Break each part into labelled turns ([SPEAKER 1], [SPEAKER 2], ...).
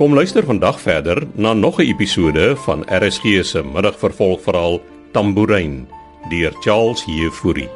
[SPEAKER 1] Kom luister vandag verder na nog 'n episode van RSG se middagvervolgverhaal Tambourine deur Charles Heffury.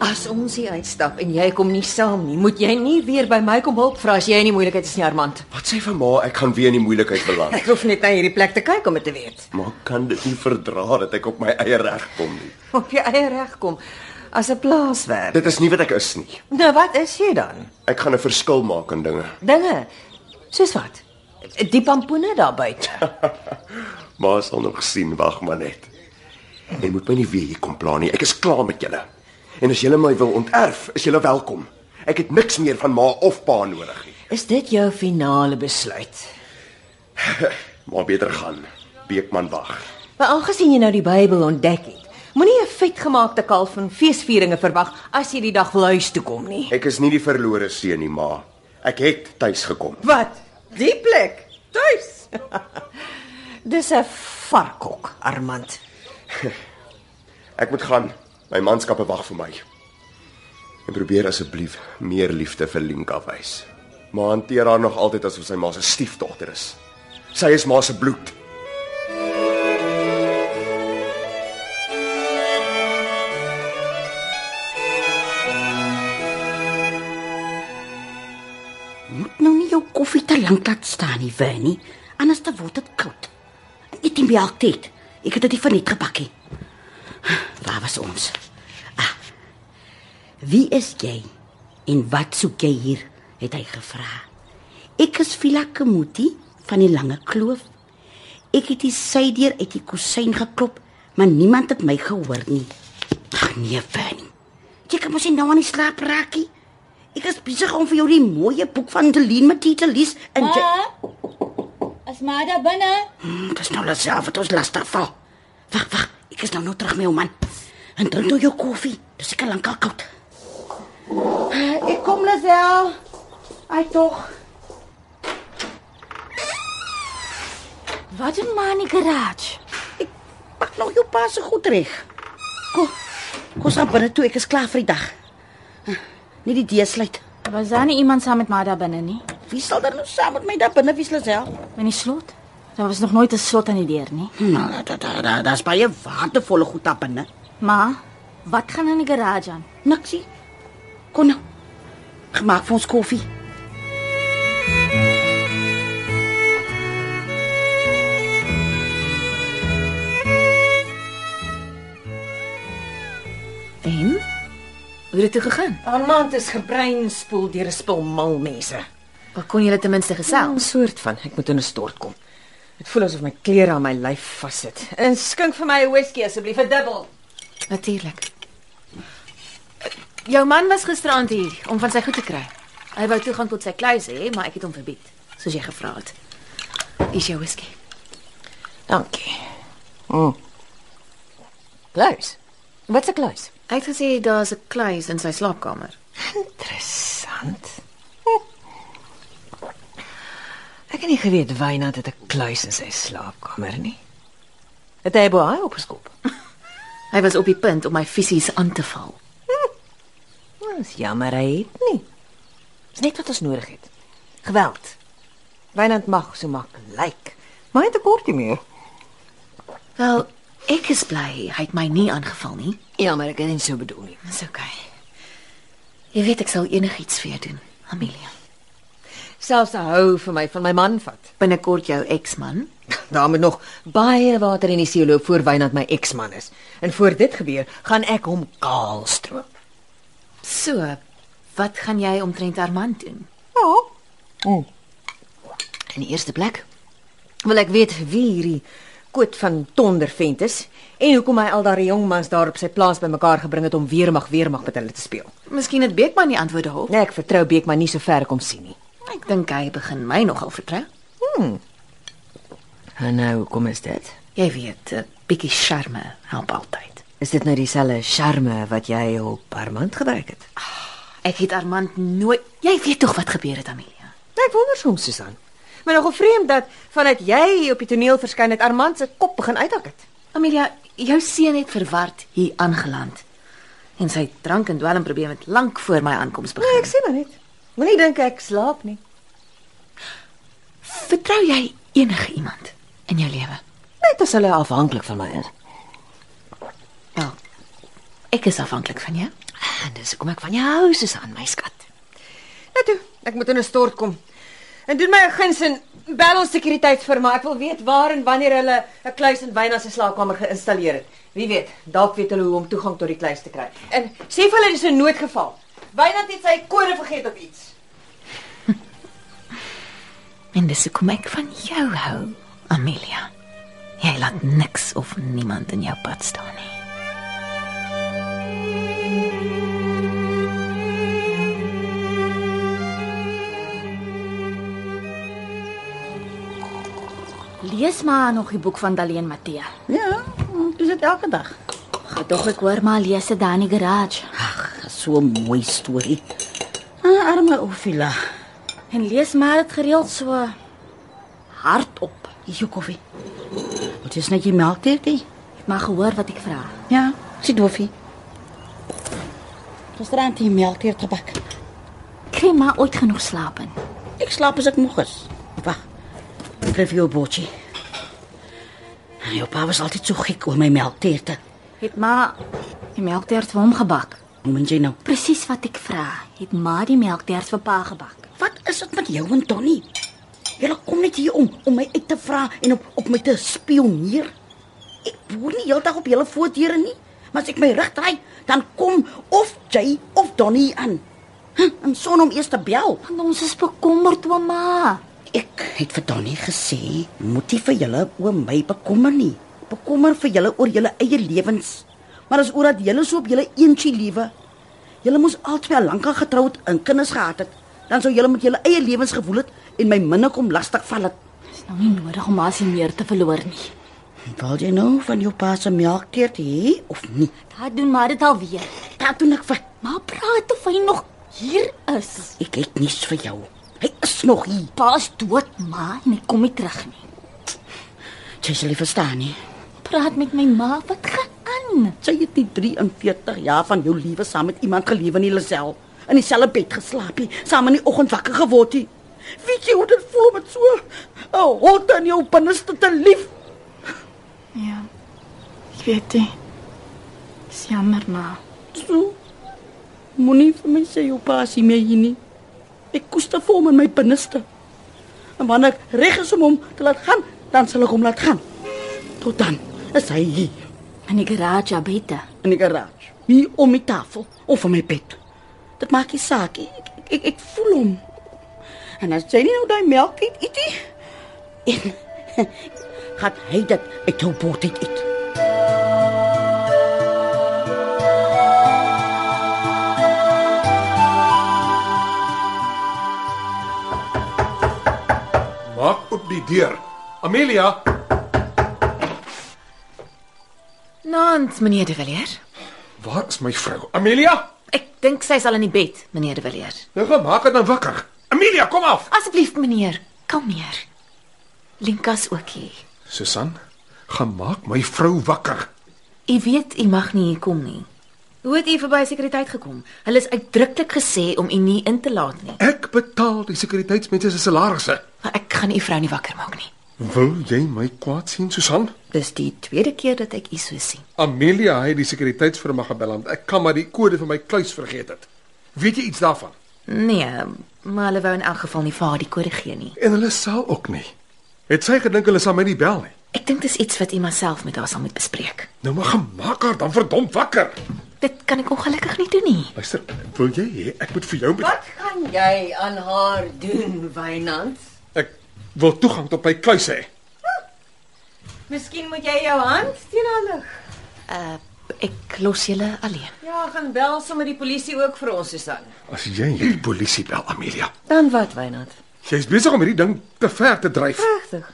[SPEAKER 2] As ons hier uitstap en jy kom nie saam nie, moet jy nie weer by my kom hulp vra as jy in die moeilikheid is nie, Armand.
[SPEAKER 3] Wat sê vir ma, ek gaan weer in die moeilikheid beland.
[SPEAKER 2] Ek hoef net na hierdie plek te kyk om dit te weet.
[SPEAKER 3] Maar kan dit nie verdra dat ek op my eie reg kom nie.
[SPEAKER 2] Op jou eie reg kom as 'n plaaswerk.
[SPEAKER 3] Dit is nie wat ek is nie.
[SPEAKER 2] Nou wat is jy dan?
[SPEAKER 3] Ek gaan 'n verskil maak in dinge.
[SPEAKER 2] Dinge. Soos wat? Die pampoene daar buite.
[SPEAKER 3] Ma sal nog sien, wag maar net. Jy moet my nie weer hier kom pla nie. Ek is klaar met julle. En as julle my wil onterf, is julle welkom. Ek het niks meer van ma of pa nodig nie.
[SPEAKER 2] Is dit jou finale besluit?
[SPEAKER 3] Maar beter gaan. Beekman wag.
[SPEAKER 2] Maar aangesien jy nou die Bybel ontdek het, moenie 'n vetgemaakte kalf van feesvieringe verwag as jy die dag wil huis toe kom nie.
[SPEAKER 3] Ek is nie die verlore seun nie, ma. Ek het tuis gekom.
[SPEAKER 2] Wat? Die plek? Tuis. Dis 'n varkhok, Armand.
[SPEAKER 3] Ek moet gaan. My manskappe wag vir my. En probeer asseblief meer liefde vir Linka wys. Maar hanteer haar nog altyd asof sy ma se stiefdogter is. Sy is ma se bloed.
[SPEAKER 4] Moet nou nie jou koffie te lank laat staan nie, Winnie, anders dan word dit koud. Eet die melk tyd. Ek het dit nie verniet gebakkie. Waar was ons? Ah. Wie is jy? En wat soek jy hier? het hy gevra. Ek is Vila Kemuti van die Lange Kloof. Ek het die sydeur uit die kusyn geklop, maar niemand het my gehoor nie. Ag nee, Winnie. Jy kan mos nie nou aan die slaap raakie. Ek is besig om vir jou die mooie boek van Deline Matthee te lees en jy
[SPEAKER 5] Ma, is maar daar binne.
[SPEAKER 4] Hmm, Dis nou laself wat ons lastig val. Wag, wag, ek is nou nou terug met jou man. En drink nou jou koffie. Dis seker lankal koud. Ek kom laself. Ai tog.
[SPEAKER 5] Wat doen maar in die garage?
[SPEAKER 4] Ek pak nou jou pa se goed reg. Kom. Kom saam binne toe, ek is klaar vir die dag. Nie die deur sluit.
[SPEAKER 5] Was daar nie iemand saam met my daar binne nie?
[SPEAKER 4] Wie sal dan nou saam met my daar binne wees laself?
[SPEAKER 5] In die slot? Daar was nog nooit 'n slot aan die deur nie.
[SPEAKER 4] Nou, da da da, da's baie waardevolle goed daar binne.
[SPEAKER 5] Ma, wat gaan in die garage aan?
[SPEAKER 4] Niksie. Kom nou. Gemaak vir ons koffie.
[SPEAKER 6] En? Hoe het dit toe gegaan?
[SPEAKER 2] Armand is gebreinspoel deur 'n spul mal mense.
[SPEAKER 6] Wat kon julle ten minste
[SPEAKER 2] Wel, 'n
[SPEAKER 6] gesels?
[SPEAKER 2] soort van, ek moet in 'n stort kom. Dit voel asof my klere aan my lyf vaszit. En skink vir my 'n whisky asseblief, 'n dubbel.
[SPEAKER 6] Natuurlik. Jou Eh, man was gisteraand hier om van sy goed te kry. Hy wou toegang tot sy kluis hê, maar ek het hom verbied, soos jy gevra het. Is jou whisky?
[SPEAKER 2] Dankie. Mm. Kluis. Wat 'n kluis?
[SPEAKER 6] Hy het gesê daar's 'n kluis in sy slaapkamer.
[SPEAKER 2] Interessant.
[SPEAKER 7] Hm. Ek het nie geweet Wynand het 'n kluis in sy slaapkamer nie. Het hy by haar opgeskop?
[SPEAKER 6] Hy was op die punt om my fisies aan te val.
[SPEAKER 7] Nou, Dis jammer hy het nie. Dis net wat ons nodig het. Geweld. Wynand mag so maak lyk, like, maar hy het 'n kortie meer.
[SPEAKER 6] Wel, ek is bly hy het my nie aangeval nie.
[SPEAKER 7] Ja, maar ek het nie so bedoel nie.
[SPEAKER 6] Dis oukei. Okay. Jy weet ek sal enigiets vir jou doen, Amelia.
[SPEAKER 2] Selfs 'n hou vir my van my man vat.
[SPEAKER 6] Binnekort jou eksman.
[SPEAKER 2] Daar moet nog baie water in die see loop voor Wynand my eksman is. En voor dit gebeur, gaan ek hom kaal stroop.
[SPEAKER 6] So, wat gaan jy omtrent Armand doen?
[SPEAKER 7] In die eerste plek,
[SPEAKER 2] Wil ek weet wie hierdie koot van Tondervent is en hoekom hy al daardie jong mans daar op sy plaas bymekaar gebring het om weermag weermag met hulle te speel.
[SPEAKER 6] Miskien het Beekman die antwoord daarop.
[SPEAKER 2] Nee, ek vertrou Beekman nie so ver kom sien nie.
[SPEAKER 6] Ek dink hy begin my nogal vertrou.
[SPEAKER 7] en nou hoekom is dit?
[SPEAKER 6] Jy weet,
[SPEAKER 4] eh,
[SPEAKER 6] 'n bietjie charme help altyd.
[SPEAKER 7] Is dit nou dieselfde charme wat jy op Armand gebruik het?
[SPEAKER 6] Ek het Armand nooit Jy weet tog wat gebeur het, Amelia.
[SPEAKER 2] Nou, Ek wonder soms, Susan. Maar nogal vreemd dat vanuit jy op die toneel verskyn het Armand se kop begin uithak het.
[SPEAKER 6] Amelia,
[SPEAKER 4] jou seun het verward hier aangeland. En sy drank en dwelmprobleme het lank voor my aankoms begin.
[SPEAKER 2] Nee, ek sê maar net. Moenie dink ek slaap nie.
[SPEAKER 4] Vertrou jy enige iemand in jou lewe?
[SPEAKER 7] Net as hulle afhanklik van my is.
[SPEAKER 4] Wel, ek is afhanklik van jou.
[SPEAKER 7] Ah, En dis hoekom ek van jou hou, Susan, my skat.
[SPEAKER 2] Nou toe, ek moet in 'n stort kom. En doen my 'n guns en bel ons sekuriteit vir my. Ek wil weet waar en wanneer hulle 'n kluis in Wyn as 'n slaapkamer geïnstalleer het. Wie weet, dalk weet hulle hoe om toegang tot die kluis te kry. En sê vir hulle dis 'n noodgeval. Wynand het sy kode vergeet of iets.
[SPEAKER 4] En dis hoekom ek van jou hou, Amelia. Jy laat niks of niemand in jou pad staan nie.
[SPEAKER 6] Lees maar nog die boek van Daleen Matthee.
[SPEAKER 8] Ja, dis dit elke dag.
[SPEAKER 6] Gedog ek hoor maar lees dit daar in die garage.
[SPEAKER 8] Ag, so 'n mooi storie. Ah, arme Ophila.
[SPEAKER 6] En lees maar dit gereeld so
[SPEAKER 8] Hardop. Hier jou koffie. Wat is net jy melk dit? hè?
[SPEAKER 6] Ek mag gehoor wat ek vra.
[SPEAKER 8] Ja, sit doffie. Gisterand het jy melk hier gebak.
[SPEAKER 6] Kry maar ooit genoeg slaap in.
[SPEAKER 8] Ek slaap as ek moeg is. Wag. Ek gryp jou botjie. Jou pa was altyd so gek oor my melkteerte.
[SPEAKER 6] Het maar die melktert vir hom gebak.
[SPEAKER 8] Hoe meen jy nou?
[SPEAKER 6] Presies wat ek vra. Het maar die melktert vir pa gebak.
[SPEAKER 8] Wat is dit met jou en Donnie? Julle kom net hier om om my uit te vra en op op my te spioneer. Ek boer nie heeltag op julle voordeure nie, maar as ek my rug draai, dan kom of jy of Donnie aan. Hm, en son om eers te bel.
[SPEAKER 6] Want ons is bekommerd oor ma.
[SPEAKER 8] Ek het vir Donnie gesê, moet nie vir julle oor my bekommer nie. Bekommer vir julle oor julle eie lewens. Maar as oor dat julle so op julle eentjie lewe. Julle moes albei al lank al getroud en kinders gehad het. Dan sou julle met julle eie lewens gevoel het en my minne kom lastig val het.
[SPEAKER 6] Dis nou nie nodig om ma se meer te verloor nie.
[SPEAKER 8] Wil jy nou van jou pa se melkteert hê of nie?
[SPEAKER 6] Daar doen maar dit alweer.
[SPEAKER 8] Daar doen ek vir.
[SPEAKER 6] Maar praat of hy nog hier is.
[SPEAKER 8] Ek het niks vir jou. Hy is nog hier.
[SPEAKER 6] Pa is dood, ma, en hy kom nie terug nie.
[SPEAKER 8] Jy sal nie verstaan nie.
[SPEAKER 6] Praat met my ma, wat gaan aan?
[SPEAKER 8] Sy het nie 43 jaar van jou lewe saam met iemand gelewe nie, Lisel. In dieselfde bed geslaap nie, saam in die oggend wakker geword nie. Weet jy hoe dit voel om met so 'n hond in jou binneste te lief?
[SPEAKER 6] Ja. Ek weet dit. Dis jammer, ma.
[SPEAKER 8] So. Moenie vir my sê jou pa sien my hier nie. Ek koester vir hom in my binneste. En wanneer ek reg is om hom te laat gaan, dan sal ek hom laat gaan. Tot dan is hy hier
[SPEAKER 6] In die garage buite.
[SPEAKER 8] in die garage, hier om die tafel of in my bed. Dit maak nie saak nie. Ek, ek ek ek voel hom. En as jy nie nou daai melk eet, eet nie. Gaan hy dit uit jou bord uit eet.
[SPEAKER 3] Maak oop die deur. Amelia,
[SPEAKER 4] Nant, meneer De Villiers.
[SPEAKER 3] waar is my vrou? Amelia,
[SPEAKER 4] Ek dink sy is al in die bed, meneer De Villiers.
[SPEAKER 3] nou gemaak het dan wakker. Amelia, kom af.
[SPEAKER 4] Asseblief, meneer, kalmeer. Linkas ook hier.
[SPEAKER 3] Susan, gaan maak my vrou wakker.
[SPEAKER 4] U weet u mag nie hier kom nie. Hoe het u verby sekuriteit gekom? Hulle is uitdruklik gesê om u nie in te laat nie.
[SPEAKER 3] Ek betaal die sekuriteitsmense se salarisse.
[SPEAKER 4] Maar ek gaan u vrou nie wakker maak nie.
[SPEAKER 3] Wil jy my kwaad sien, Susan?
[SPEAKER 4] Dis die tweede keer dat ek u so sien.
[SPEAKER 3] Amelia het die sekuriteitsfirma gebel want ek kan maar die kode vir my kluis vergeet het. Weet jy iets daarvan?
[SPEAKER 4] Nee, maar hulle wou in elk geval nie vir haar die kode gee nie.
[SPEAKER 3] En hulle sal ook nie. Het sy gedink hulle sal my nie bel nie.
[SPEAKER 4] Ek dink dis iets wat u myself met haar sal moet bespreek.
[SPEAKER 3] Nou maar gaan maak haar dan verdomp wakker.
[SPEAKER 4] Dit kan ek ongelukkig nie doen nie.
[SPEAKER 3] Luister, wil jy hê ek moet vir jou betaal?
[SPEAKER 2] Wat gaan jy aan haar doen, Wynand?
[SPEAKER 3] Ek wil toegang tot my kluis hê.
[SPEAKER 2] Miskien moet jy jou hand teen haar lig.
[SPEAKER 4] Uh ek los julle alleen.
[SPEAKER 2] Ja, gaan bel sommer die polisie ook vir ons, Susan.
[SPEAKER 3] As jy die polisie bel, Amelia,
[SPEAKER 7] Dan wat, Wynand?
[SPEAKER 3] jy's besig om hierdie ding te ver te dryf.
[SPEAKER 7] Regtig?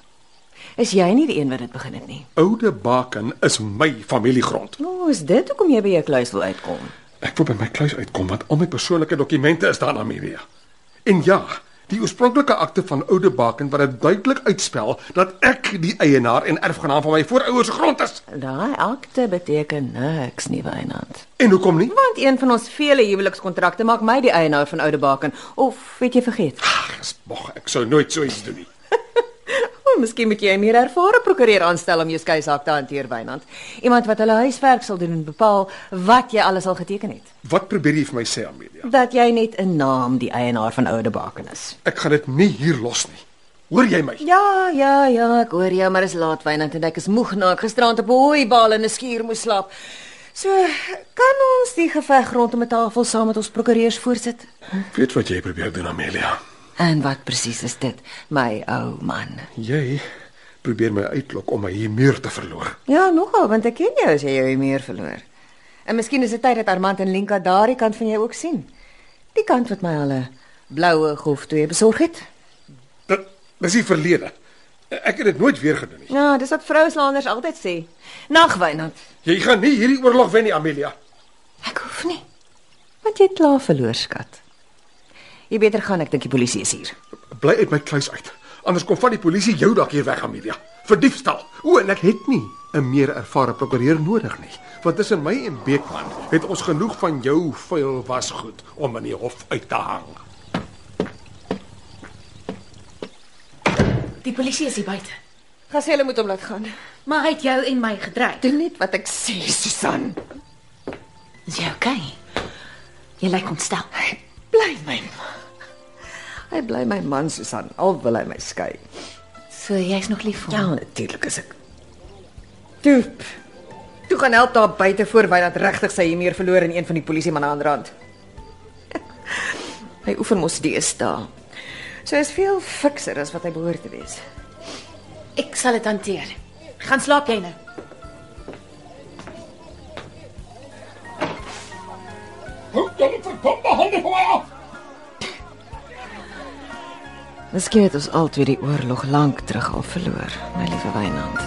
[SPEAKER 7] Is jy nie die een wat dit begin het nie?
[SPEAKER 3] Oude Baken is my familiegrond.
[SPEAKER 7] Nou, is dit hoekom jy by jou kluis wil uitkom?
[SPEAKER 3] Ek wil by my kluis uitkom want al my persoonlike dokumente is daar, Amelia. En ja, die oorspronklike akte van Oude Baken wat dit duidelik uitspel dat ek die eienaar en erfgenaam van my voorouers se grond is.
[SPEAKER 2] Daai akte beteken niks nie, Wynand.
[SPEAKER 3] En hoekom nie?
[SPEAKER 2] Want een van ons vele huwelikskontrakte maak my die eienaar van Oudebaken. Of het jy vergeet?
[SPEAKER 3] Mag ek sou nooit so iets doen nie.
[SPEAKER 2] O, miskien moet jy 'n meer ervare prokureur aanstel om jou skeisaak te hanteer, Wynand. Iemand wat hulle huiswerk sal doen en bepaal wat jy alles al geteken het.
[SPEAKER 3] Wat probeer jy vir my sê, Amelia?
[SPEAKER 2] Dat jy net 'n naam die eienaar van Oudebaken is.
[SPEAKER 3] Ek gaan dit nie hier los nie. Hoor jy my?
[SPEAKER 2] Ja, ja, ja, ek hoor jou, maar is laat, Wynand, en ek is moeg na ek gisterand op 'n hooibaal in 'n skuur moes slaap. So, kan ons die geveg rondom 'n tafel saam met ons prokureurs voorsit?
[SPEAKER 3] Ek weet wat jy probeer doen, Amelia.
[SPEAKER 2] En wat presies is dit, my ou man?
[SPEAKER 3] Jy probeer my uitlok om my hier meer te verloor.
[SPEAKER 2] Ja, nogal, want ek ken jou as jy jou humeur verloor. En miskien is dit tyd dat Armand en Lenka daardie kant van jou ook sien. Die kant wat my hulle bloue golf toe besorg het.
[SPEAKER 3] Dit dis die verlede. Ek het dit nooit weer gedoen nie.
[SPEAKER 2] Ja, dis wat vrouslaanders altyd sê. Nag, Wynand.
[SPEAKER 3] Jy gaan nie hierdie oorlog wen nie, Amelia.
[SPEAKER 2] Ek hoef nie. Want jy het klaar verloor, skat. Jy beter gaan, ek dink die polisie is hier.
[SPEAKER 3] Bly uit my kluis uit. Anders kom van die polisie jou dak hier weg, Amelia. Vir diefstal. O, en ek het nie 'n meer ervare prokureur nodig nie. Want tussen my en Beekman het ons genoeg van jou vuil wasgoed om in die hof uit te hang.
[SPEAKER 6] Die polisie is hier buite.
[SPEAKER 9] Gaan sê hulle moet hom laat gaan.
[SPEAKER 6] Maar hy het jou en my gedreig.
[SPEAKER 9] Doen net wat ek sê, Susan.
[SPEAKER 6] Is jy okay? Jy lyk ontstel.
[SPEAKER 9] Bly my.
[SPEAKER 2] Hy bly my man, Susan, al wil hy my skei.
[SPEAKER 6] So jy's nog lief vir
[SPEAKER 2] Ja,
[SPEAKER 6] hom.
[SPEAKER 2] natuurlik is ek. Toe. Toe gaan help daar buite voor Wynand regtig sy hier meer verloor in een van die polisie manne aan die rand. hy oefen mos die is daar. So hy is veel fikser as wat hy behoort te wees.
[SPEAKER 6] Ek sal dit hanteer. Gaan slaap jy nou.
[SPEAKER 3] Hou dan verdomme hande van my af.
[SPEAKER 2] Miskien het ons altyd die oorlog lank terug al verloor, my liewe Wynand.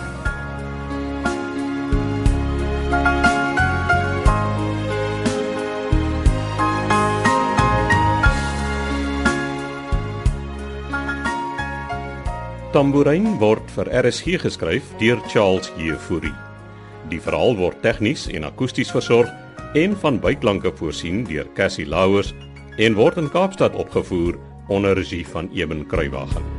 [SPEAKER 1] Tambourin word vir RSG geskryf deur Charles Jefouri. Die verhaal word tegnies en akoesties versorg en van byklanke voorsien deur Cassie Louws en word in Kaapstad opgevoer onder regie van Eben Kruiwagen.